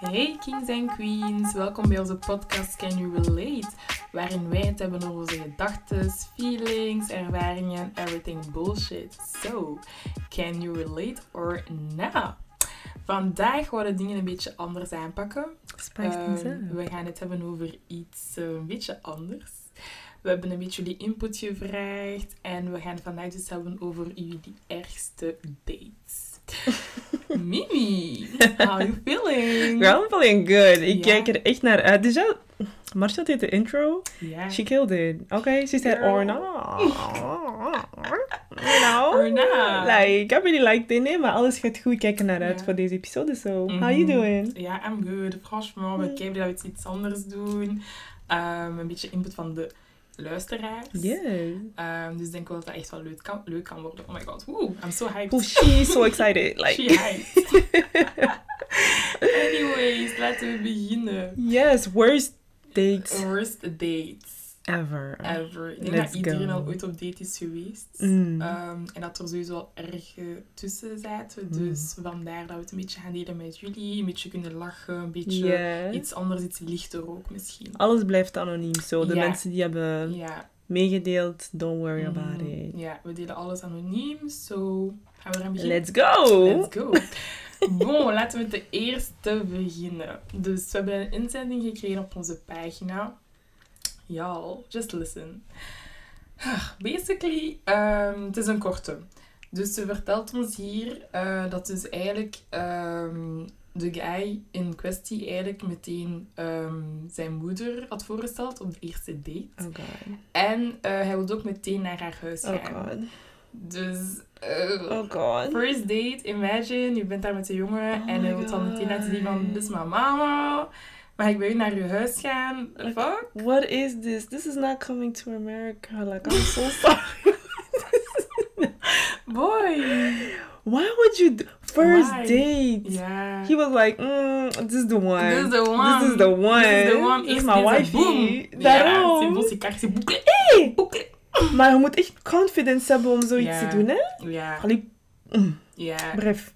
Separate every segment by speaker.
Speaker 1: Hey kings en queens, welkom bij onze podcast Can You Relate? Waarin wij het hebben over onze gedachten, feelings, ervaringen, everything bullshit. So, can you relate or not? Vandaag gaan we de dingen een beetje anders aanpakken.
Speaker 2: Spice things
Speaker 1: Ehm,
Speaker 2: up.
Speaker 1: we gaan het hebben over iets eh, een beetje anders. We hebben een beetje jullie input gevraagd en we gaan vandaag dus hebben over jullie ergste dates. Mimi, how you feeling?
Speaker 2: Girl, I'm feeling good. Ik
Speaker 1: Ja.
Speaker 2: kijk er echt naar uit. Dus ja, Marcia deed de intro.
Speaker 1: Ja.
Speaker 2: She killed it. Okay, she said
Speaker 1: Girl.
Speaker 2: or not. You know?
Speaker 1: Or not.
Speaker 2: Like, I really liked it. Nee, maar alles gaat goed. Ik kijk er naar uit
Speaker 1: Ja.
Speaker 2: voor deze episode. So, how you
Speaker 1: Mhm.
Speaker 2: doing?
Speaker 1: Ja, I'm good. Franchement, we
Speaker 2: Ja.
Speaker 1: kijken dat we iets anders doen. Ehm, een beetje input van de luisteraars.
Speaker 2: Yes.
Speaker 1: Ehm, dus ik denk wel dat dat echt wel leuk kan, leuk kan worden. Oh my god, woe, I'm so hyped.
Speaker 2: Oh, she's so excited.
Speaker 1: She
Speaker 2: Like,
Speaker 1: hyped. Anyways, laten we beginnen.
Speaker 2: yes, worst dates
Speaker 1: Worst dates
Speaker 2: ever.
Speaker 1: ever. Ik denk
Speaker 2: Let's
Speaker 1: dat iedereen
Speaker 2: go.
Speaker 1: al ooit op date is geweest.
Speaker 2: Mm.
Speaker 1: Ehm, en dat er sowieso al erg eh, tussen zaten.
Speaker 2: Mhm.
Speaker 1: Dus vandaar dat we het een beetje gaan delen met jullie. Een beetje kunnen lachen, een beetje
Speaker 2: Yes.
Speaker 1: iets anders, iets lichter ook misschien.
Speaker 2: Alles blijft anoniem. Zo, de
Speaker 1: Ja.
Speaker 2: mensen die hebben
Speaker 1: Ja.
Speaker 2: meegedeeld, don't worry about
Speaker 1: Mm,
Speaker 2: it.
Speaker 1: Ja, we delen alles anoniem. So, gaan we eraan beginnen?
Speaker 2: Let's go!
Speaker 1: Let's go. Bon, laten we met de eerste beginnen. Dus we hebben een inzending gekregen op onze pagina. Y'all, just listen. Ah, Basically, ehm, het is een korte. Dus ze vertelt ons hier eh, dat dus eigenlijk ehm, de guy in kwestie eigenlijk meteen ehm, zijn moeder had voorgesteld op de eerste date.
Speaker 2: Oh god.
Speaker 1: En eh, hij wilde ook meteen naar haar huis gaan.
Speaker 2: Oh god.
Speaker 1: Dus... eh,
Speaker 2: Oh god.
Speaker 1: First date, imagine, je bent daar met een jongen
Speaker 2: Oh
Speaker 1: en hij
Speaker 2: my
Speaker 1: wil dan meteen laten zien van,
Speaker 2: God.
Speaker 1: dit is mijn dus mama, mag ik bij u naar je huis gaan? The Fuck?
Speaker 2: What is this? This is not coming to America. Like I'm so sorry.
Speaker 1: Boy!
Speaker 2: Why would you do first
Speaker 1: Why?
Speaker 2: date?
Speaker 1: Ja.
Speaker 2: He was like, mm, this is the one.
Speaker 1: This is the one.
Speaker 2: This is the one.
Speaker 1: This is the one.
Speaker 2: This is
Speaker 1: Eerst
Speaker 2: my
Speaker 1: deze
Speaker 2: wifey.
Speaker 1: boom. Ja, ze
Speaker 2: Daarom.
Speaker 1: boos, ze krijgt ze boeken.
Speaker 2: Hey!
Speaker 1: boeken.
Speaker 2: Maar je moet echt confidence hebben om zoiets
Speaker 1: Ja.
Speaker 2: te doen, hè?
Speaker 1: Ja,
Speaker 2: Allee, mm,
Speaker 1: ja.
Speaker 2: bref.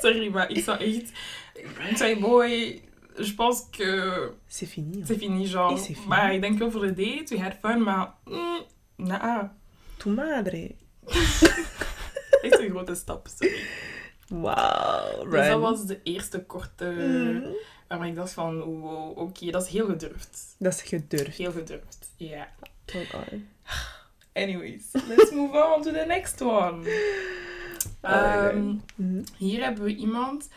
Speaker 1: Sorry, maar ik zou echt... Ik zei, boy, je pense que
Speaker 2: C'est fini. hoor.
Speaker 1: c'est fini, genre.
Speaker 2: Is het fini?
Speaker 1: Maar ik denk wel voor de date, we had fun, maar... Mm, nah,
Speaker 2: Tu madre.
Speaker 1: echt een grote stap, sorry.
Speaker 2: Wow.
Speaker 1: Dus dat
Speaker 2: Ryan.
Speaker 1: was de eerste korte...
Speaker 2: Mm.
Speaker 1: Waarvan ik dacht van, wow, oké, dat is heel gedurfd.
Speaker 2: Dat is gedurfd.
Speaker 1: Heel gedurfd, ja.
Speaker 2: Oh god.
Speaker 1: Um, Anyways, let's move on to the next one.
Speaker 2: my
Speaker 1: Ehm,
Speaker 2: Mm.
Speaker 1: hier hebben we iemand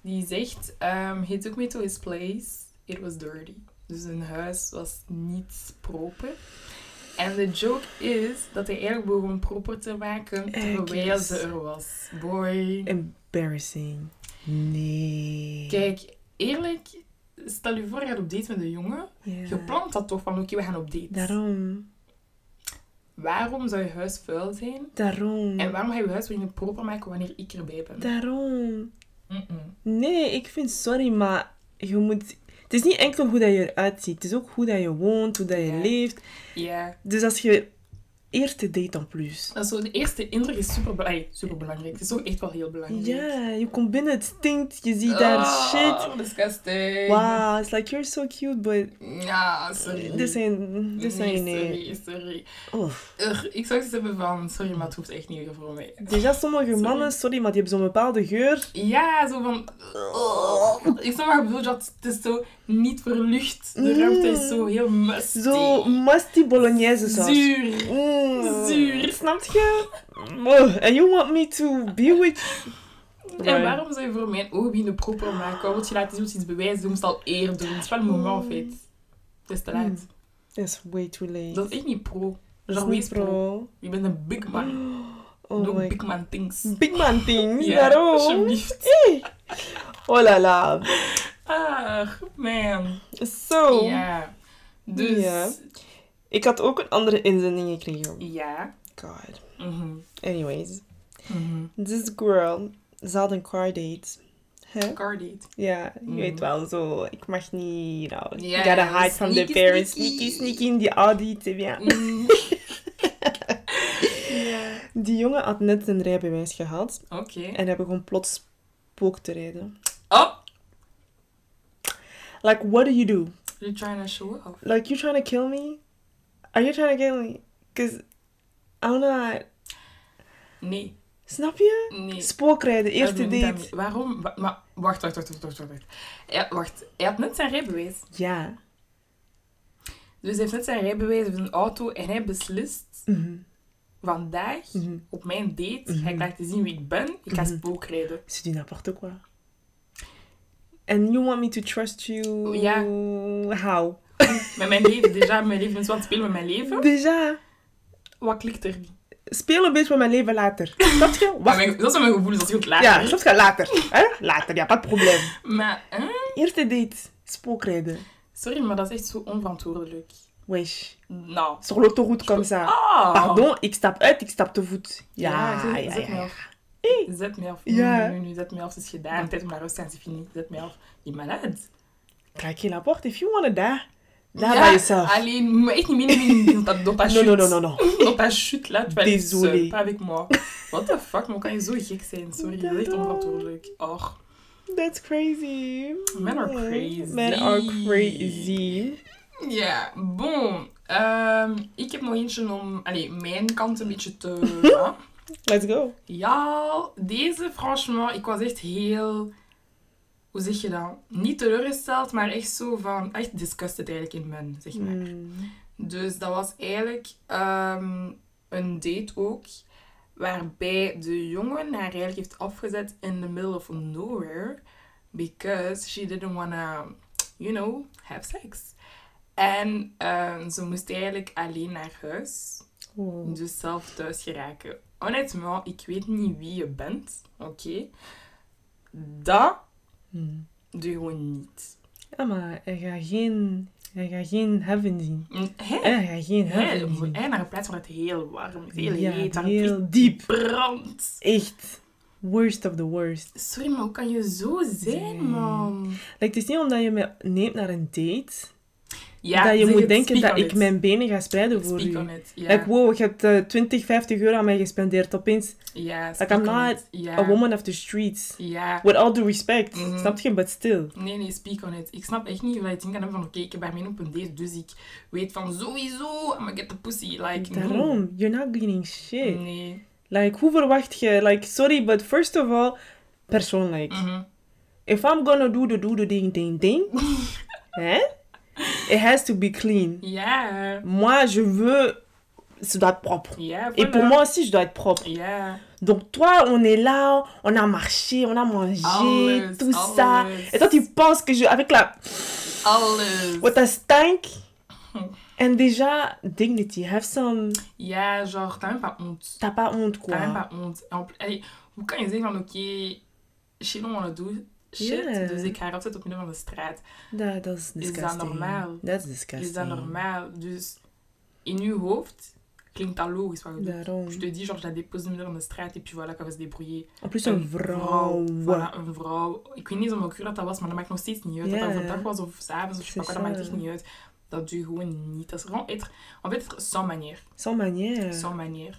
Speaker 1: die zegt, ehm, he took me to his place, it was dirty. Dus hun huis was niet proper. En de joke is dat hij eigenlijk begon proper te maken terwijl
Speaker 2: Ergens.
Speaker 1: ze er was. Boy.
Speaker 2: Embarrassing. Nee.
Speaker 1: Kijk, eerlijk, stel je voor je gaat op date met een jongen.
Speaker 2: Ja.
Speaker 1: Je plant dat toch van, oké, we gaan op date.
Speaker 2: Daarom.
Speaker 1: Waarom zou je huis vuil zijn?
Speaker 2: Daarom.
Speaker 1: En waarom ga je huis weer niet proper maken wanneer ik erbij ben?
Speaker 2: Daarom.
Speaker 1: Mm-mm.
Speaker 2: Nee, ik vind sorry, maar je moet. Het is niet enkel hoe dat je eruit ziet. Het is ook hoe dat je woont, hoe dat je
Speaker 1: Ja.
Speaker 2: leeft.
Speaker 1: Ja.
Speaker 2: Dus als je eerste date dan plus.
Speaker 1: Dat is zo, de eerste indruk is super, belangrijk. Het is ook echt wel heel belangrijk.
Speaker 2: Ja, je komt binnen, het stinkt, je ziet daar shit.
Speaker 1: Oh, disgusting.
Speaker 2: Wow, it's like you're so cute, but
Speaker 1: Ja, sorry.
Speaker 2: dit zijn, dit zijn eh, nee.
Speaker 1: nee. Sorry, sorry.
Speaker 2: Oh.
Speaker 1: Ugh, ik zou iets hebben van, sorry, maar het hoeft echt niet voor mij.
Speaker 2: Déjà sommige
Speaker 1: Sorry.
Speaker 2: mannen, sorry, maar die hebben zo'n bepaalde geur.
Speaker 1: Ja, zo van... Ugh. Ik snap wat je bedoelt, dat het is zo niet verlucht. De
Speaker 2: Mm.
Speaker 1: ruimte is zo heel musty.
Speaker 2: Zo musty bolognese saus.
Speaker 1: Zuur.
Speaker 2: Mm,
Speaker 1: Zuur.
Speaker 2: Snap je? Oh, and you want me to be with
Speaker 1: En
Speaker 2: Right.
Speaker 1: waarom zou je voor mijn ogen binnen proper maken? Wat moet je laten zien? Moet je iets bewijzen? Je moest al eerder doen. Het is wel een moment,
Speaker 2: Mm.
Speaker 1: in feite. Het is te laat.
Speaker 2: That's way too late.
Speaker 1: Dat is echt niet pro.
Speaker 2: Mm. Dat is
Speaker 1: Genre, wees
Speaker 2: niet
Speaker 1: pro.
Speaker 2: pro.
Speaker 1: Je bent een big man.
Speaker 2: Oh
Speaker 1: Doe
Speaker 2: my
Speaker 1: big man things.
Speaker 2: Big man things,
Speaker 1: Ja,
Speaker 2: daarom.
Speaker 1: alsjeblieft.
Speaker 2: Hey. Oh la la.
Speaker 1: Ah, man.
Speaker 2: Zo.
Speaker 1: Ja. Dus,
Speaker 2: Oh. Ja. Ik had ook een andere inzending gekregen.
Speaker 1: ja.
Speaker 2: God.
Speaker 1: Mhm.
Speaker 2: Anyways.
Speaker 1: Mhm.
Speaker 2: This girl, ze had een car date. Hè?
Speaker 1: Car date.
Speaker 2: Ja, je
Speaker 1: Mm.
Speaker 2: weet wel, zo, ik mag niet, you know,
Speaker 1: Ja,
Speaker 2: you gotta hide from the
Speaker 1: sneaky,
Speaker 2: parents,
Speaker 1: sneaky.
Speaker 2: sneaky, sneaky in die Audi, te bien.
Speaker 1: Mm. Ja.
Speaker 2: Die jongen had net zijn rijbewijs gehad
Speaker 1: Oké.
Speaker 2: en hij begon plots spook te rijden.
Speaker 1: Oh!
Speaker 2: Like, what do you do?
Speaker 1: You're trying to show off.
Speaker 2: Like, you trying to kill me? Are you trying to kill me? Because I'm not.
Speaker 1: Nee,
Speaker 2: Snap je?
Speaker 1: nee.
Speaker 2: Spookrijden, eerste
Speaker 1: Daar ben ik
Speaker 2: date.
Speaker 1: daarmee- Waarom? Wa- Maar wacht, wacht, wacht, wacht, wacht, wacht. Ja, wacht. Hij had net zijn rijbewijs.
Speaker 2: Ja.
Speaker 1: Dus hij heeft net zijn rijbewijs, heeft een auto en hij beslist
Speaker 2: Mhm,
Speaker 1: vandaag
Speaker 2: mhm.
Speaker 1: op mijn date,
Speaker 2: Mhm.
Speaker 1: ga ik laten zien wie ik ben, ik ga
Speaker 2: Mhm.
Speaker 1: spookrijden.
Speaker 2: C'est du n'importe quoi. And you want me to trust you?
Speaker 1: Ja.
Speaker 2: How?
Speaker 1: Met mijn leven, déjà, mijn leven is wat spelen met mijn leven.
Speaker 2: Déjà,
Speaker 1: Wat klikt er niet?
Speaker 2: speel een beetje met mijn leven later. Snap je?
Speaker 1: Maar
Speaker 2: Wacht.
Speaker 1: mijn- dat zijn mijn gevoelens, dat is goed later.
Speaker 2: Ja, snap je? Later. Hè? Later, ja, pas probleem.
Speaker 1: Maar, hè?
Speaker 2: Eerste date, spookrijden.
Speaker 1: sorry, maar dat is echt zo onverantwoordelijk.
Speaker 2: Wesh.
Speaker 1: Nou.
Speaker 2: Sur l'autoroute comme ça.
Speaker 1: Ah.
Speaker 2: Pardon, ik stap uit, ik stap te voet. Ja, ja,
Speaker 1: zet,
Speaker 2: ja.
Speaker 1: zet mij
Speaker 2: ja.
Speaker 1: af. Zet mij af. Nu,
Speaker 2: Ja.
Speaker 1: nu, nu, zet mij af. Het is gedaan. Tijd om naar rust te gaan. Het is fini. Zet mij af. Je bent malade.
Speaker 2: Craquer la porte if you wanna die. Die
Speaker 1: Ja,
Speaker 2: by yourself.
Speaker 1: Alleen, moet me echt niet meenemen in dat- door dat
Speaker 2: Non,
Speaker 1: chute.
Speaker 2: non, non, non, non.
Speaker 1: Door dat chute, là. terwijl ik
Speaker 2: Désolé.
Speaker 1: zuip. eh, Pas avec moi. What the fuck, maar kan je zo gek zijn? Sorry, dat is echt
Speaker 2: Daarom.
Speaker 1: onverantwoordelijk. Och.
Speaker 2: That's crazy.
Speaker 1: Men are
Speaker 2: Yeah.
Speaker 1: crazy.
Speaker 2: Men are crazy.
Speaker 1: Ja, bon. Ehm, ik heb nog eentje om allee, mijn kant een beetje te...
Speaker 2: Let's go.
Speaker 1: Ja, deze, franchement, ik was echt heel. Hoe zeg je dat? Niet teleurgesteld, maar echt zo van. Echt disgusted eigenlijk in men, zeg maar.
Speaker 2: Mm.
Speaker 1: Dus dat was eigenlijk ehm, een date ook. Waarbij de jongen haar eigenlijk heeft afgezet in the middle of nowhere. Because she didn't wanna, you know, have sex. En ehm, ze moest eigenlijk alleen naar huis
Speaker 2: Wow.
Speaker 1: dus zelf thuis geraken. Honnêtement, ik weet niet wie je bent, oké? Dat
Speaker 2: Mm.
Speaker 1: doe je gewoon niet.
Speaker 2: Ja, maar hij gaat geen, hij gaat geen heaven zien.
Speaker 1: Mm, Hè?
Speaker 2: Hij gaat geen
Speaker 1: Hè?
Speaker 2: heaven zien.
Speaker 1: Hè, Naar een plaats waar het heel warm is, heel
Speaker 2: Ja,
Speaker 1: heet, waar
Speaker 2: heel
Speaker 1: het echt
Speaker 2: diep.
Speaker 1: brandt.
Speaker 2: Echt. Worst of the worst.
Speaker 1: Sorry, maar hoe kan je zo zijn,
Speaker 2: Nee.
Speaker 1: man?
Speaker 2: Like, het is niet omdat je me neemt naar een date,
Speaker 1: Ja,
Speaker 2: dat je
Speaker 1: zeg
Speaker 2: moet
Speaker 1: het,
Speaker 2: denken
Speaker 1: speak
Speaker 2: dat
Speaker 1: on
Speaker 2: ik
Speaker 1: it.
Speaker 2: mijn benen ga spreiden voor
Speaker 1: Speak
Speaker 2: u.
Speaker 1: on it, ja.
Speaker 2: Like, wow, je hebt eh, 20, 50 euro aan mij gespendeerd. Opeens,
Speaker 1: Ja,
Speaker 2: like,
Speaker 1: speak
Speaker 2: I'm
Speaker 1: on
Speaker 2: not
Speaker 1: it, ja.
Speaker 2: a woman of the streets.
Speaker 1: Ja.
Speaker 2: With all due respect.
Speaker 1: Mhm.
Speaker 2: Snap je? But still.
Speaker 1: Nee, nee, speak on it. Ik snap echt niet hoe je denkt aan hem van, oké, ik heb daarmee op een date, dus ik weet van sowieso, I'm gonna get the pussy. Like, no. Mm.
Speaker 2: Daarom, you're not getting shit.
Speaker 1: Nee.
Speaker 2: Like, hoe verwacht je? Like, sorry, but first of all, persoonlijk.
Speaker 1: Mhm.
Speaker 2: If I'm gonna do the do the ding ding ding, hè? It has to be clean.
Speaker 1: Ja.
Speaker 2: Moi, je veux, ça doit être propre.
Speaker 1: Ja, voilà.
Speaker 2: Et pour moi aussi, je dois être propre.
Speaker 1: Ja.
Speaker 2: Donc toi, on est là, on a marché, on a mangé,
Speaker 1: Alles,
Speaker 2: tout
Speaker 1: alles.
Speaker 2: ça. Et toi, tu penses que je, avec la,
Speaker 1: Alles.
Speaker 2: what a stank. En déjà, dignity, have some,
Speaker 1: Ja, genre, t'as même pas honte.
Speaker 2: t'as pas honte
Speaker 1: T'as même
Speaker 2: quoi.
Speaker 1: pas honte. En pl- Allee, hoe kan je zeggen van, oké, she don't wanna do shit,
Speaker 2: Ja.
Speaker 1: dus ik ga haar opzetten op midden van de straat.
Speaker 2: Dat dat is
Speaker 1: dat
Speaker 2: disgusting.
Speaker 1: normaal?
Speaker 2: Dat is disgusting.
Speaker 1: Is dat normaal? Dus in je hoofd klinkt dat logisch wat je doet.
Speaker 2: Daarom.
Speaker 1: Je te dis, genre, je la dépose au milieu van de straat en puis voilà, kan ze débrouiller.
Speaker 2: En plus een vrouw.
Speaker 1: Voilà, een vrouw. Ik weet niet om welke uur dat dat was, maar dat maakt nog steeds niet uit. Dat
Speaker 2: Ja.
Speaker 1: dat overdag was of s'avonds of je
Speaker 2: C'est
Speaker 1: dat
Speaker 2: ça.
Speaker 1: maakt echt niet uit. Dat doe je gewoon niet. Dat is gewoon être, en fait, être sans manière.
Speaker 2: Sans manière.
Speaker 1: Sans manière.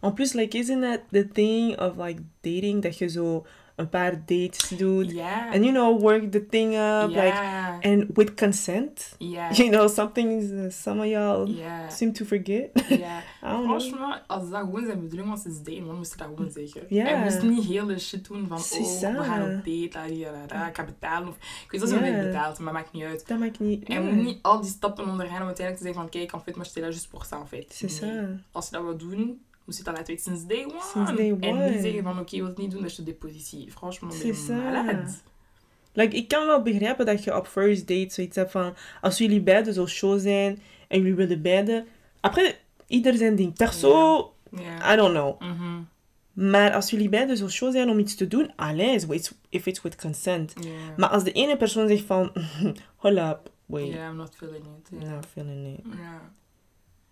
Speaker 2: En plus, like, isn't that the thing of like dating? Dat je zo een paar dates doet.
Speaker 1: Ja.
Speaker 2: And you know, work the thing up. Like,
Speaker 1: Ja.
Speaker 2: and with consent.
Speaker 1: Ja.
Speaker 2: You know, something is, uh, some of y'all
Speaker 1: Ja.
Speaker 2: seem to forget.
Speaker 1: Ja.
Speaker 2: I don't know.
Speaker 1: Franchement, als dat gewoon zijn bedoeling was, is daten, dan moest je dat gewoon zeggen.
Speaker 2: Ja.
Speaker 1: Hij moest niet heel de shit doen van,
Speaker 2: C'est
Speaker 1: oh,
Speaker 2: ça.
Speaker 1: we gaan op date, la, la, la, la, ik ga betalen. Of, ik weet dat ze
Speaker 2: Ja.
Speaker 1: niet betaalt, maar maakt niet uit.
Speaker 2: Dat maakt niet
Speaker 1: Hij moet niet al die stappen ondergaan om uiteindelijk te zeggen van, kijk, en fait, moi, j'étais là juste pour ça, en fait.
Speaker 2: C'est
Speaker 1: Nee.
Speaker 2: ça.
Speaker 1: Als je dat wil doen, moest je dat laten weten sinds day one.
Speaker 2: Sinds day one.
Speaker 1: En niet zeggen van, oké, je wilt het niet doen, dat is je depositie. Franchement, ben je
Speaker 2: C'est ça.
Speaker 1: malade.
Speaker 2: Like, ik kan wel begrijpen dat je op first date zoiets hebt van... Als jullie beiden zo show zijn en jullie willen beiden... Après, ieder zijn ding. Perso,
Speaker 1: Ja.
Speaker 2: I don't know.
Speaker 1: Mhm.
Speaker 2: Maar als jullie beiden zo show zijn om iets te doen... Allez, it's- if it's with consent.
Speaker 1: Ja.
Speaker 2: Maar als de ene persoon zegt van... Hold up, wait.
Speaker 1: Ja, I'm not feeling it. Ja.
Speaker 2: Nou, feeling it.
Speaker 1: Ja.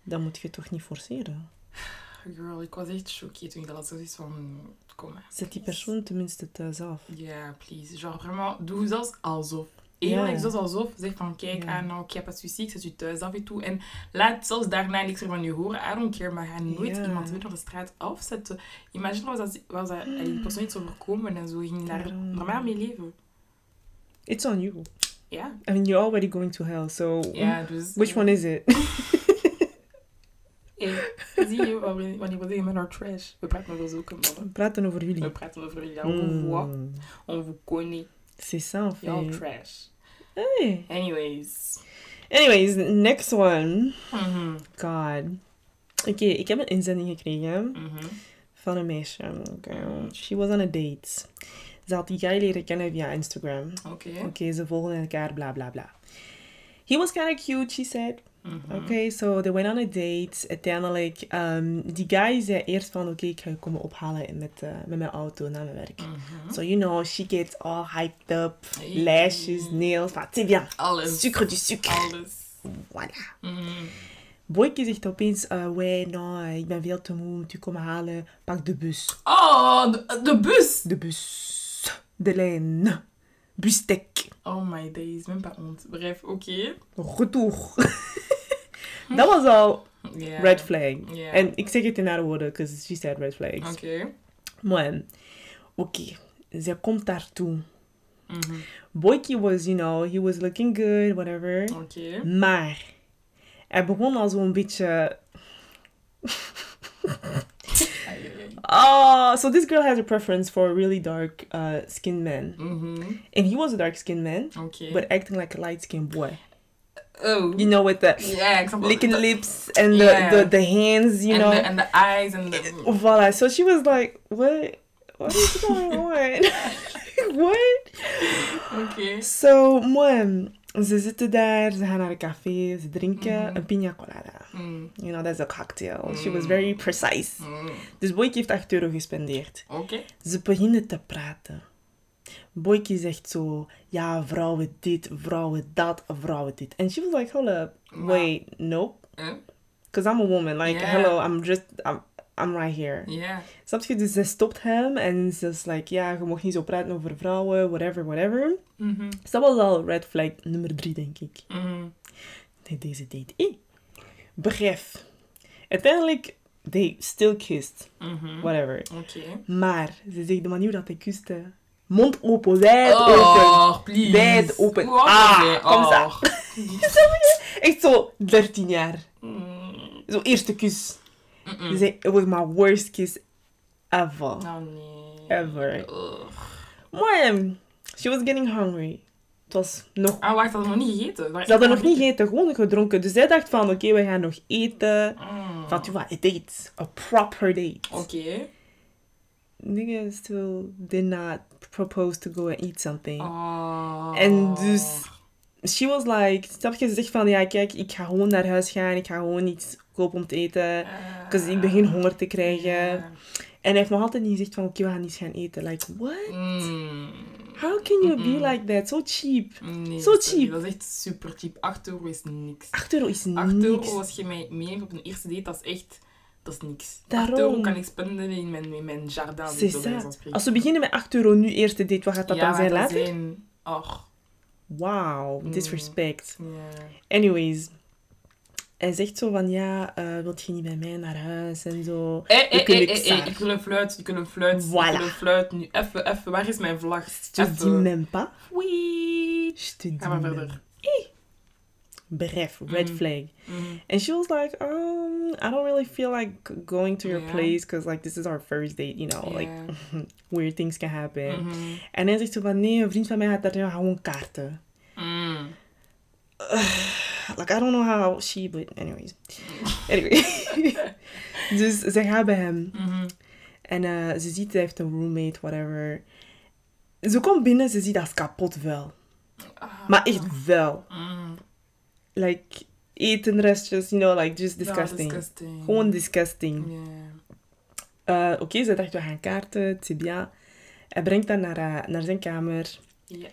Speaker 2: Dan moet je toch niet forceren.
Speaker 1: Girl, ik was echt choquée toen ik dat had zoiets van, kom maar.
Speaker 2: Zet die
Speaker 1: please.
Speaker 2: persoon tenminste thuis af.
Speaker 1: Ja, please. Genre, vraiment, doe zelfs alsof. Eerlijk,
Speaker 2: Ja.
Speaker 1: zelfs alsof. Zeg van, kijk,
Speaker 2: Ja.
Speaker 1: ah nou, ik heb het suicidie, ik zet je thuis af en toe. En laat zelfs daarna niks meer van je horen. I don't care, maar ga nooit
Speaker 2: Ja.
Speaker 1: iemand weer op de straat afzetten. Imagine was dat, was dat die persoon iets overkomen en zo ging je daar
Speaker 2: Daarom.
Speaker 1: normaal mee leven.
Speaker 2: It's on you.
Speaker 1: Ja,
Speaker 2: And you're already going to hell, so
Speaker 1: ja dus...
Speaker 2: which one is it?
Speaker 1: Hey, zie je, wanneer wanneer we zeggen met our trash, we praten over zulke mannen.
Speaker 2: We praten over jullie.
Speaker 1: We praten over jullie, ja, on vous voit,
Speaker 2: Mm.
Speaker 1: on vous connaît,
Speaker 2: C'est ça en fait.
Speaker 1: y'all trash.
Speaker 2: Hey.
Speaker 1: Anyways.
Speaker 2: Anyways, next one.
Speaker 1: Mhm,
Speaker 2: God. Oké, ik heb een inzending gekregen
Speaker 1: mhm.
Speaker 2: van een meisje. Oké, She was on a date. Ze had die guy leren kennen via Instagram.
Speaker 1: Oké.
Speaker 2: Oké, ze volgden elkaar, bla bla bla. He was kind of cute, she said.
Speaker 1: Mhm.
Speaker 2: Oké, so they went on a date. Uiteindelijk, ehm, die guy zei eerst van, oké, ik ga je komen ophalen in met, eh, met mijn auto naar mijn werk.
Speaker 1: Mhm.
Speaker 2: So, you know, she gets all hyped up.
Speaker 1: Hey.
Speaker 2: Lashes, nails, van, c'est bien.
Speaker 1: Alles.
Speaker 2: Sucre du sucre.
Speaker 1: Alles.
Speaker 2: Voilà.
Speaker 1: Mhm.
Speaker 2: Boyke zegt opeens, eh wij, nou, eh, ik ben veel te moe, moet u komen halen. Pak de bus.
Speaker 1: Oh, de, de bus!
Speaker 2: De bus. De lijn. Bustek.
Speaker 1: Oh my days, même pas honte. Bref, oké.
Speaker 2: Retour. Dat was al
Speaker 1: Ja.
Speaker 2: red flag.
Speaker 1: Ja.
Speaker 2: En ik zeg het in haar woorden, because she said red flags.
Speaker 1: Oké.
Speaker 2: Maar, oké, zij komt daartoe.
Speaker 1: Mhm.
Speaker 2: Boyki was, you know, he was looking good, whatever.
Speaker 1: Oké.
Speaker 2: Maar, hij begon al zo'n beetje...
Speaker 1: Ai, ai, ai.
Speaker 2: Oh, so this girl has a preference for really dark uh, skinned men.
Speaker 1: Mhm.
Speaker 2: And he was a dark skinned man,
Speaker 1: Oké.
Speaker 2: but acting like a light skinned boy.
Speaker 1: Oh.
Speaker 2: You know, with the
Speaker 1: Ja, ik snap
Speaker 2: licking
Speaker 1: wat-
Speaker 2: lips and the,
Speaker 1: Yeah.
Speaker 2: the, the hands, you
Speaker 1: and
Speaker 2: know.
Speaker 1: The, and the eyes and the...
Speaker 2: Voila. So she was like, what? What is going on? what?
Speaker 1: Oké.
Speaker 2: So, moi, ze zitten daar, ze gaan naar een café, ze drinken
Speaker 1: Mhm.
Speaker 2: een pina colada.
Speaker 1: Mm.
Speaker 2: You know, that's a cocktail. She was
Speaker 1: Mm.
Speaker 2: very precise.
Speaker 1: Mm.
Speaker 2: Dus Boyke heeft 8 euro gespendeerd.
Speaker 1: Oké.
Speaker 2: Ze beginnen te praten. Boyke zegt zo, ja, vrouwen dit, vrouwen dat, vrouwen dit. And she was like, hold up,
Speaker 1: Wow.
Speaker 2: wait, nope.
Speaker 1: Eh?
Speaker 2: Because I'm a woman, like,
Speaker 1: Yeah.
Speaker 2: hello, I'm just, I'm, I'm right here.
Speaker 1: Ja.
Speaker 2: Snap je? Dus ze stopt hem en ze is like, ja, je mag niet zo praten over vrouwen, whatever, whatever.
Speaker 1: Mhm.
Speaker 2: Dus dat was al red flag nummer drie, denk ik.
Speaker 1: Mhm.
Speaker 2: Nee, deze date. Eh. Begrijp. Uiteindelijk, they still kissed.
Speaker 1: Mhm.
Speaker 2: Whatever.
Speaker 1: Oké.
Speaker 2: Maar, ze zegt de manier dat hij kuste. Mond open, wijd open.
Speaker 1: Oh, please.
Speaker 2: Wijd open.
Speaker 1: Hoe oud
Speaker 2: Ah,
Speaker 1: was hij?
Speaker 2: kom eens
Speaker 1: Oh,
Speaker 2: aan. Echt zo 13 jaar.
Speaker 1: Mm.
Speaker 2: Zo eerste kus. Ze
Speaker 1: Mm-mm.
Speaker 2: zei, it was my worst kiss ever.
Speaker 1: Nou, nee.
Speaker 2: Oh. Ever.
Speaker 1: Ugh.
Speaker 2: Maar, ehm, she was getting hungry. Het was nog...
Speaker 1: Ah, wacht, dat hadden we nog niet gegeten.
Speaker 2: Ze hadden nog niet gegeten, gewoon gedronken. Dus zij dacht van, oké, we gaan nog eten.
Speaker 1: Mm.
Speaker 2: Van, tu vois, a date. A proper date.
Speaker 1: Oké.
Speaker 2: nigga still did not propose to go and eat something.
Speaker 1: Oh.
Speaker 2: En dus she was like, snap je, ze zegt van ja kijk, ik ga gewoon naar huis gaan, ik ga gewoon iets kopen om te eten. Because ik begin honger te krijgen.
Speaker 1: Ah. Ja.
Speaker 2: En hij heeft nog altijd niet gezegd van oké, we gaan iets gaan eten. Like, what?
Speaker 1: Mm.
Speaker 2: How can you
Speaker 1: Mm-mm.
Speaker 2: be like that? So cheap.
Speaker 1: Nee,
Speaker 2: Zo
Speaker 1: sorry,
Speaker 2: cheap.
Speaker 1: Dat is echt super cheap. 8 euro is niks.
Speaker 2: 8 euro is
Speaker 1: 8
Speaker 2: niks.
Speaker 1: euro als je mij meeneemt op een eerste date, dat is echt... Dat is niks. 8
Speaker 2: Daarom.
Speaker 1: euro kan ik spenden in mijn, in mijn jardin.
Speaker 2: C'est
Speaker 1: bij
Speaker 2: ça.
Speaker 1: wijze van spreken.
Speaker 2: Als we beginnen met 8 euro nu eerste date, wat gaat dat
Speaker 1: Ja,
Speaker 2: dan zijn
Speaker 1: dat
Speaker 2: later?
Speaker 1: zijn- Och,
Speaker 2: Wow,
Speaker 1: Mm.
Speaker 2: disrespect.
Speaker 1: ja.
Speaker 2: Anyways. Hij zegt zo van ja, eh wilt je niet bij mij naar huis en zo.
Speaker 1: Hé, hé,
Speaker 2: kunnen
Speaker 1: hé,
Speaker 2: niks
Speaker 1: hé,
Speaker 2: aan.
Speaker 1: eh, ik wil een fluit, ik wil een fluit, ik
Speaker 2: Voilà.
Speaker 1: wil een fluit. Nu, even, even, waar is mijn vlag?
Speaker 2: Je te dis
Speaker 1: Even.
Speaker 2: même pas.
Speaker 1: Wee.
Speaker 2: Je te dis
Speaker 1: Ga maar
Speaker 2: même
Speaker 1: verder.
Speaker 2: Bref, red
Speaker 1: Mhm.
Speaker 2: flag.
Speaker 1: Mhm.
Speaker 2: And she was like, um, I don't really feel like g- going to your
Speaker 1: Yeah.
Speaker 2: place because like this is our first date, you know, like
Speaker 1: Ja.
Speaker 2: weird things can happen.
Speaker 1: Mhm.
Speaker 2: En hij zegt zo van, nee, een vriend van mij gaat daar gewoon kaarten.
Speaker 1: Mm.
Speaker 2: Like, I don't know how she, but anyways. Anyway. dus ze gaat bij hem.
Speaker 1: Mhm.
Speaker 2: En eh, ze ziet, hij heeft een roommate, whatever. Ze komt binnen, ze ziet dat is kapot wel.
Speaker 1: Ah.
Speaker 2: Maar echt wel.
Speaker 1: Mm.
Speaker 2: Like, etenrestjes, you know, like, just
Speaker 1: Ja,
Speaker 2: disgusting.
Speaker 1: disgusting.
Speaker 2: Gewoon disgusting.
Speaker 1: Ja.
Speaker 2: Eh, Oké, ze dacht, we gaan kaarten, het is bien. Hij brengt haar naar, eh, naar zijn kamer.
Speaker 1: Ja.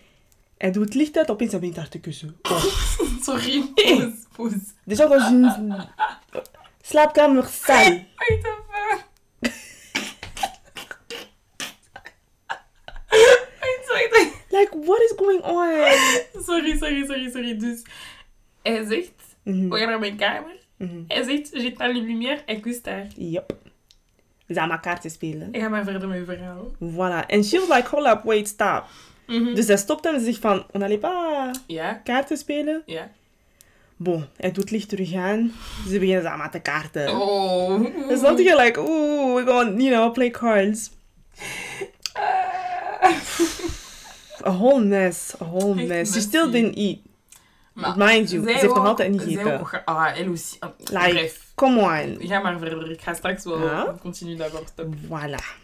Speaker 2: Hij doet het licht uit, opeens hij begint haar te kussen. Oh.
Speaker 1: Sorry, poes, poes.
Speaker 2: Dus dat was een slaapkamer saai.
Speaker 1: Wait even. Wait, wait, wait.
Speaker 2: Like, what is going on?
Speaker 1: Sorry, sorry, sorry, sorry. Dus hij zegt,
Speaker 2: Mhm,
Speaker 1: we gaan naar mijn kamer.
Speaker 2: mhm.
Speaker 1: Hij zegt, j'ai pas les lumières, hij kust haar.
Speaker 2: Yep. We zijn aan elkaar te spelen.
Speaker 1: Ik ga maar verder met je verhaal.
Speaker 2: Voilà. En she was like, hold up, wait, stop.
Speaker 1: Mhm.
Speaker 2: Dus hij stopt hem en zegt van, on n'allait pas
Speaker 1: Ja,
Speaker 2: kaarten spelen.
Speaker 1: ja.
Speaker 2: Bon, hij doet licht terug aan. Ze beginnen samen te kaarten.
Speaker 1: Oh.
Speaker 2: Dus dan je like, ooh, we gaan, you know, play cards. A whole mess, a whole
Speaker 1: Echt
Speaker 2: mess. She
Speaker 1: messy.
Speaker 2: still didn't eat.
Speaker 1: Maar
Speaker 2: Mind you,
Speaker 1: zij
Speaker 2: ze heeft nog
Speaker 1: ook-
Speaker 2: altijd niet
Speaker 1: zij
Speaker 2: gegeten.
Speaker 1: ook ge- Ah, en Lucie. ah,
Speaker 2: Like-
Speaker 1: Bref.
Speaker 2: Come on.
Speaker 1: Ga maar verder. Ik ga straks wel
Speaker 2: Ja?
Speaker 1: continu daarover te
Speaker 2: Voilà.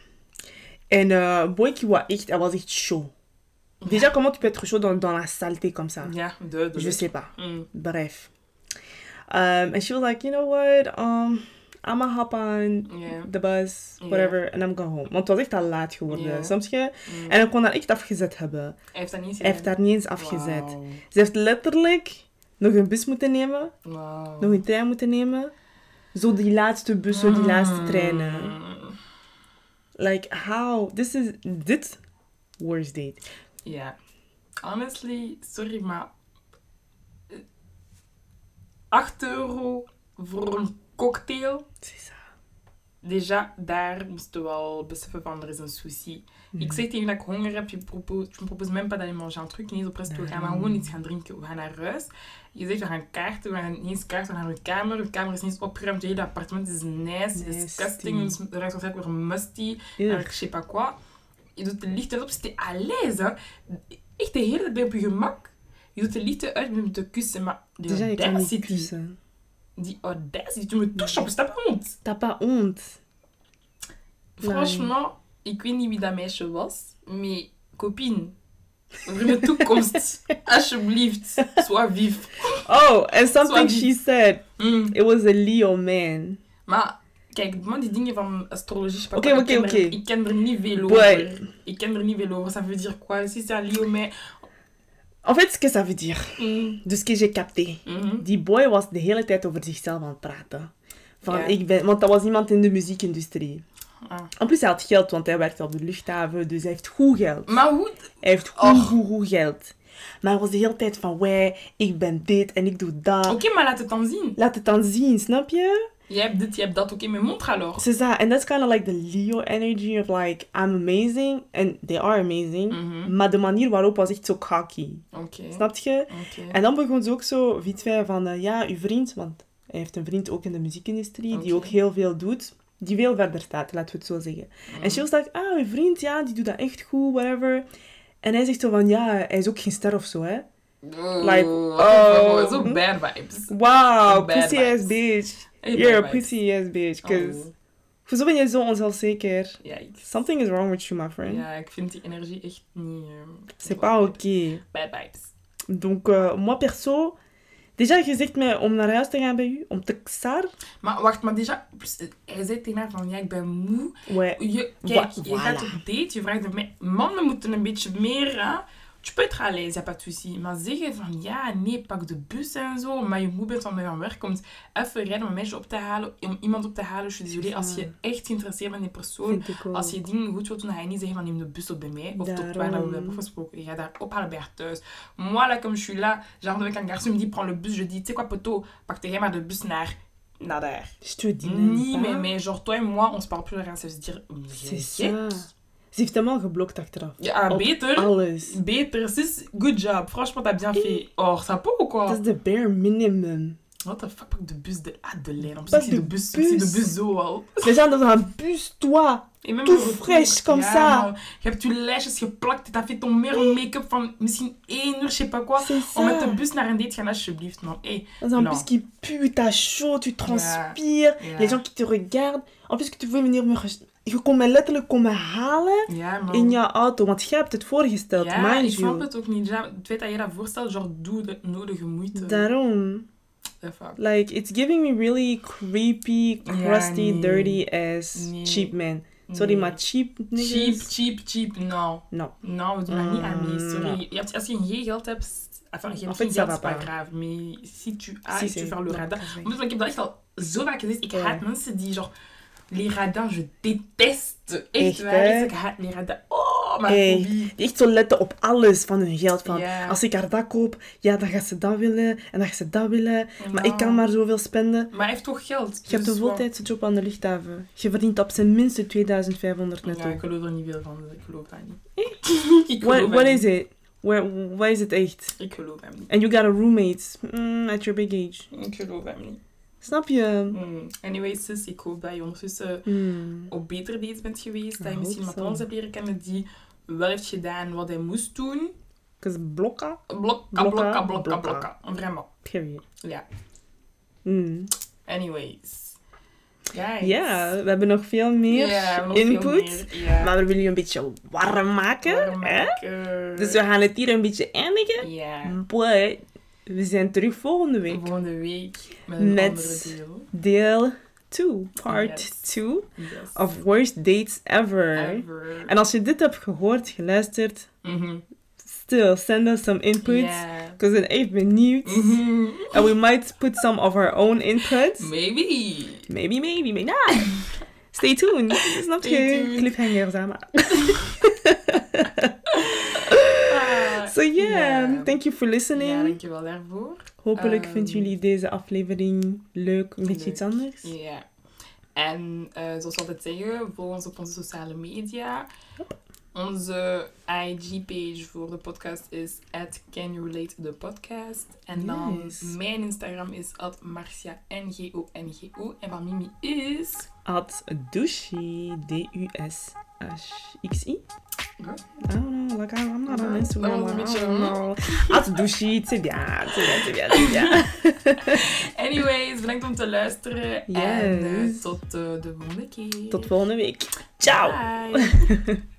Speaker 2: En euh, Boyki was echt, elle was echt chaud. Déjà, comment tu peux être chaud dans, dans la saleté comme ça?
Speaker 1: Ja, duidelijk.
Speaker 2: Je sais pas.
Speaker 1: Mm.
Speaker 2: Bref. Um, and she was like, you know what? Um, I'ma hop on
Speaker 1: Ja.
Speaker 2: the bus,
Speaker 1: Ja.
Speaker 2: whatever, and I'm going home. Want het was echt al laat geworden,
Speaker 1: Ja.
Speaker 2: snap je?
Speaker 1: Mm.
Speaker 2: En hij kon haar echt afgezet hebben.
Speaker 1: Hij heeft dat niet
Speaker 2: Hij heeft
Speaker 1: gedaan.
Speaker 2: daar niet eens afgezet.
Speaker 1: Wauw.
Speaker 2: Ze heeft letterlijk nog een bus moeten nemen,
Speaker 1: Wauw.
Speaker 2: nog een trein moeten nemen. Zo die laatste bus, zo die
Speaker 1: Ah.
Speaker 2: laatste treinen.
Speaker 1: Mm.
Speaker 2: Like, how? This is, dit, worst date.
Speaker 1: Ja. Honestly, sorry, maar... eh, 8 euro voor een cocktail?
Speaker 2: C'est ça.
Speaker 1: Déjà, daar moesten we al beseffen van, er is een sushi. Ik zeg tegen je dat ik honger heb, je propose, je propose même pas d'aller manger un truc, niet eens op resto gaan, maar gewoon iets gaan drinken. We gaan naar huis. Je zegt, we gaan kaarten, we gaan niet eens kaarten, we gaan naar de kamer. De kamer is niet eens opgeruimd, je hele appartement is nice,
Speaker 2: Nasty.
Speaker 1: disgusting, dus er ruikt waarschijnlijk weer musty, naar je sais pas quoi. Je doet de lichten op, c'était à l'aise. hein. Hè. Echt de hele tijd op je gemak. Je doet de lichten uit met te kussen, maar die
Speaker 2: Déjà, je kan niet
Speaker 1: audacity,
Speaker 2: kussen.
Speaker 1: die audacity, tu me touches en plus, t'as pas honte.
Speaker 2: T'as pas honte. Bah
Speaker 1: Franchement, ik weet niet wie dat meisje was, maar copine, voor mijn toekomst, alsjeblieft, sois vif.
Speaker 2: Oh, and something
Speaker 1: Sorry.
Speaker 2: she said.
Speaker 1: Mm.
Speaker 2: It was a Leo man.
Speaker 1: Maar kijk, man, die dingen van astrologie, je sais pas
Speaker 2: Oké,
Speaker 1: quoi,
Speaker 2: oké,
Speaker 1: ik ken er-
Speaker 2: oké.
Speaker 1: Ik ken er niet veel
Speaker 2: Ouais.
Speaker 1: over. Ik ken er niet veel over, ça veut dire quoi? Si c'est un lion, mais...
Speaker 2: En fait, ce que ça veut dire.
Speaker 1: Mm.
Speaker 2: Dus ce que j'ai capté.
Speaker 1: Mhm.
Speaker 2: Die boy was de hele tijd over zichzelf aan het praten. Van,
Speaker 1: Ja.
Speaker 2: ik ben, want dat was iemand in de muziekindustrie.
Speaker 1: Ah.
Speaker 2: En plus, hij had geld, want hij werkte op de luchthaven, dus hij heeft goed geld.
Speaker 1: Maar hoe...
Speaker 2: Hij heeft goed,
Speaker 1: Och.
Speaker 2: goed, goed geld. Maar hij was de hele tijd van, wij, ik ben dit en ik doe dat.
Speaker 1: Oké, maar laat het dan zien.
Speaker 2: Laat het dan zien, snap je?
Speaker 1: Je hebt dit, je hebt dat, oké, maar montre alors.
Speaker 2: C'est ça. And that's kind of like the Leo energy of like, I'm amazing. And they are amazing.
Speaker 1: Mhm.
Speaker 2: Maar de manier waarop was echt zo cocky.
Speaker 1: Oké,
Speaker 2: Snap je?
Speaker 1: oké.
Speaker 2: En dan begon ze ook zo, weet wij, van eh, ja, uw vriend, want hij heeft een vriend ook in de muziekindustrie, die
Speaker 1: Oké.
Speaker 2: ook heel veel doet, die veel verder staat, laten we het zo zeggen.
Speaker 1: Mhm.
Speaker 2: En she was like, ah, uw vriend, ja, die doet dat echt goed, whatever. En hij zegt zo van, ja, hij is ook geen ster of zo, hè. Like,
Speaker 1: oh,
Speaker 2: oh.
Speaker 1: zo bad vibes. Bad
Speaker 2: Wow, pussy ass
Speaker 1: vibes.
Speaker 2: bitch.
Speaker 1: Hey,
Speaker 2: You're a
Speaker 1: bad vibes.
Speaker 2: pussy ass bitch, cause...
Speaker 1: Oh,
Speaker 2: Voor zo ben je zo onzelfzeker.
Speaker 1: yikes.
Speaker 2: Something is wrong with you, my friend.
Speaker 1: Ja, ik vind die energie echt niet. eh,
Speaker 2: C'est pas oké.
Speaker 1: Bad vibes.
Speaker 2: Donc, eh, moi perso... Déjà, je zegt mij om naar huis te gaan bij u, om te xar.
Speaker 1: Maar wacht, maar déjà, plus, eh, hij zei tegen haar van ja, ik ben moe.
Speaker 2: Ouais.
Speaker 1: Je, kijk,
Speaker 2: Wa-
Speaker 1: je gaat
Speaker 2: voilà.
Speaker 1: op date, je vraagt me, mannen moeten een beetje meer. Hè? Tu peux être à l'aise, y a pas de souci. Maar zeggen van ja, nee, pak de bus en zo, maar je moe bent van van werk, komt even rijden om een meisje op te halen, om iemand op te halen. Je suis désolée, als je echt geïnteresseerd bent in die persoon,
Speaker 2: Vind ik ook.
Speaker 1: Als je dingen goed wilt doen, dan ga je niet zeggen van neem de bus op bij mij. Of tot waar dat we
Speaker 2: Daarom.
Speaker 1: hebben afgesproken. Je gaat daar ophalen bij haar thuis. Moi, là, comme je suis là, genre avec un garçon, il me dit prends le bus. Je dis, tu sais quoi, poteau, pakte jij maar de bus naar, naar daar.
Speaker 2: Je te dis même
Speaker 1: Niet
Speaker 2: pas.
Speaker 1: mais mais genre toi en moi, on se parle plus rien. Ça veut dire,
Speaker 2: C'est
Speaker 1: je
Speaker 2: ça. Ze heeft hem al geblokt achteraf.
Speaker 1: Ja,
Speaker 2: Op
Speaker 1: beter.
Speaker 2: Alles.
Speaker 1: Beter, Ah, sis, good job. Franchement, t'as bien fait. Oh, ça peut ou
Speaker 2: Dat
Speaker 1: quoi?
Speaker 2: is de bare minimum.
Speaker 1: What the fuck, pak de bus de, ah, de lijn. Op
Speaker 2: Pak
Speaker 1: zich, de
Speaker 2: de
Speaker 1: bus,
Speaker 2: bus.
Speaker 1: zie de bus hein. zo al.
Speaker 2: We zijn dans een bus, toi.
Speaker 1: Et même
Speaker 2: Tout
Speaker 1: le retour.
Speaker 2: fraîche comme
Speaker 1: Ja,
Speaker 2: ça.
Speaker 1: man. Je hebt je lijstjes geplakt. T'as fait ton meilleur make-up van misschien één uur, je sais pas quoi.
Speaker 2: C'est
Speaker 1: Om met
Speaker 2: ça.
Speaker 1: de bus naar een date gaan, alsjeblieft, man. Hey,
Speaker 2: Dans un
Speaker 1: Non.
Speaker 2: bus qui pue, t'as chaud, tu transpires.
Speaker 1: ja.
Speaker 2: Les gens qui te regardent. En plus que tu veux venir me... re- Je kon mij letterlijk komen halen
Speaker 1: ja, man.
Speaker 2: in jouw auto. Want jij hebt het voorgesteld,
Speaker 1: ja, ik
Speaker 2: mind
Speaker 1: snap
Speaker 2: you.
Speaker 1: het ook niet. Ja, het feit dat je dat voorstelt, genre, doe de nodige moeite.
Speaker 2: Daarom.
Speaker 1: The fuck.
Speaker 2: Like, it's giving me really creepy,
Speaker 1: Ja,
Speaker 2: crusty,
Speaker 1: nee.
Speaker 2: dirty ass
Speaker 1: Nee.
Speaker 2: cheap man. Sorry,
Speaker 1: Nee.
Speaker 2: maar cheap niggas.
Speaker 1: Mm. Cheap, cheap, cheap. Nou,
Speaker 2: No.
Speaker 1: nou, doe daar niet aan mee,
Speaker 2: Mm,
Speaker 1: sorry. Je hebt, als je geen geld hebt... Enfin, je
Speaker 2: En
Speaker 1: hebt
Speaker 2: fait,
Speaker 1: geen
Speaker 2: ça
Speaker 1: geld,
Speaker 2: va
Speaker 1: is pas
Speaker 2: pas.
Speaker 1: grave. Maar si tu as,
Speaker 2: Si,
Speaker 1: tu
Speaker 2: c'est-
Speaker 1: faire le
Speaker 2: non,
Speaker 1: radin.
Speaker 2: dat is
Speaker 1: Omdat ik heb dat echt al zo vaak gezegd. Ik
Speaker 2: Ja.
Speaker 1: haat mensen die genre... Les radins, je déteste. Echt
Speaker 2: Echt,
Speaker 1: waar.
Speaker 2: hè?
Speaker 1: Ik haat les radins. Oh, Oh, maar
Speaker 2: Hey.
Speaker 1: Kobe.
Speaker 2: Die echt zo letten op alles van hun geld. Van,
Speaker 1: Ja.
Speaker 2: Als ik haar dat koop, ja, dan gaat ze dat willen. En dan gaat ze dat willen. Maar ik
Speaker 1: Nou.
Speaker 2: kan maar zoveel spenden.
Speaker 1: Maar hij heeft toch geld?
Speaker 2: Je hebt
Speaker 1: dus
Speaker 2: een
Speaker 1: wat-
Speaker 2: voltijdse job aan de luchthaven. Je verdient op zijn minste 2500
Speaker 1: Ja,
Speaker 2: netto.
Speaker 1: ik geloof er niet veel van, dus ik geloof dat niet. ik
Speaker 2: What,
Speaker 1: geloof
Speaker 2: what
Speaker 1: hem
Speaker 2: is
Speaker 1: niet.
Speaker 2: it? Where, what is it echt?
Speaker 1: Ik geloof hem niet.
Speaker 2: And you got a roommate mm, at your big age.
Speaker 1: Ik geloof hem niet.
Speaker 2: Snap je?
Speaker 1: Hmm. Anyway, sis, ik hoop dat je ondertussen
Speaker 2: Hmm.
Speaker 1: op betere dates bent geweest. Dat
Speaker 2: Ja,
Speaker 1: je misschien
Speaker 2: hoop
Speaker 1: iemand
Speaker 2: zo.
Speaker 1: anders hebt leren kennen die wel heeft gedaan wat hij moest doen.
Speaker 2: Cause blokka,
Speaker 1: Blokka,
Speaker 2: Blokka,
Speaker 1: blokka, blokka,
Speaker 2: blokka.
Speaker 1: blokka. Vraiment.
Speaker 2: period.
Speaker 1: Ja.
Speaker 2: Hmm.
Speaker 1: Anyways. Guys.
Speaker 2: Ja, we hebben nog veel
Speaker 1: Ja,
Speaker 2: meer
Speaker 1: we hebben nog veel
Speaker 2: input.
Speaker 1: meer. Ja.
Speaker 2: Maar we willen jullie een beetje warm maken.
Speaker 1: Warm
Speaker 2: hè?
Speaker 1: maken.
Speaker 2: Dus we gaan het hier een beetje eindigen.
Speaker 1: Ja.
Speaker 2: But we zijn terug volgende week.
Speaker 1: Volgende week met een
Speaker 2: Met-
Speaker 1: andere deel.
Speaker 2: Deel 2, part
Speaker 1: Yes.
Speaker 2: 2
Speaker 1: Yes.
Speaker 2: of Worst Dates Ever.
Speaker 1: Ever.
Speaker 2: En als je dit hebt gehoord, geluisterd,
Speaker 1: Mhm.
Speaker 2: still send us some input.
Speaker 1: Ja.
Speaker 2: Because I'm echt benieuwd.
Speaker 1: Mhm.
Speaker 2: And we might put some of our own inputs.
Speaker 1: Maybe.
Speaker 2: Maybe, maybe, maybe not. Stay tuned. Snap
Speaker 1: Stay
Speaker 2: je?
Speaker 1: tuned.
Speaker 2: Cliffhanger, zeg maar.
Speaker 1: Ah,
Speaker 2: So yeah, um,
Speaker 1: ja.
Speaker 2: thank you for listening.
Speaker 1: Ja, dankjewel daarvoor.
Speaker 2: Hopelijk vinden
Speaker 1: Ehm,
Speaker 2: jullie deze aflevering leuk, een beetje
Speaker 1: leuk.
Speaker 2: iets anders.
Speaker 1: Ja. En eh, zoals altijd zeggen, volg ons op onze sociale media. Onze IG-page voor de podcast is at Can You Relate The Podcast. En dan
Speaker 2: Nice.
Speaker 1: mijn Instagram is at Marcia NGO NGO. En van Mimi is...
Speaker 2: At Dushi, D-U-S-H-X-I.
Speaker 1: Goed.
Speaker 2: I don't know, like I, I'm not on
Speaker 1: Dat
Speaker 2: Instagram.
Speaker 1: was een
Speaker 2: I
Speaker 1: beetje,
Speaker 2: don't know. At Dushi, c'est bien, c'est bien, c'est bien, c'est bien.
Speaker 1: Anyways, bedankt om te luisteren. En eh,
Speaker 2: Yes.
Speaker 1: tot eh, de volgende keer.
Speaker 2: Tot volgende week. Ciao!
Speaker 1: Bye.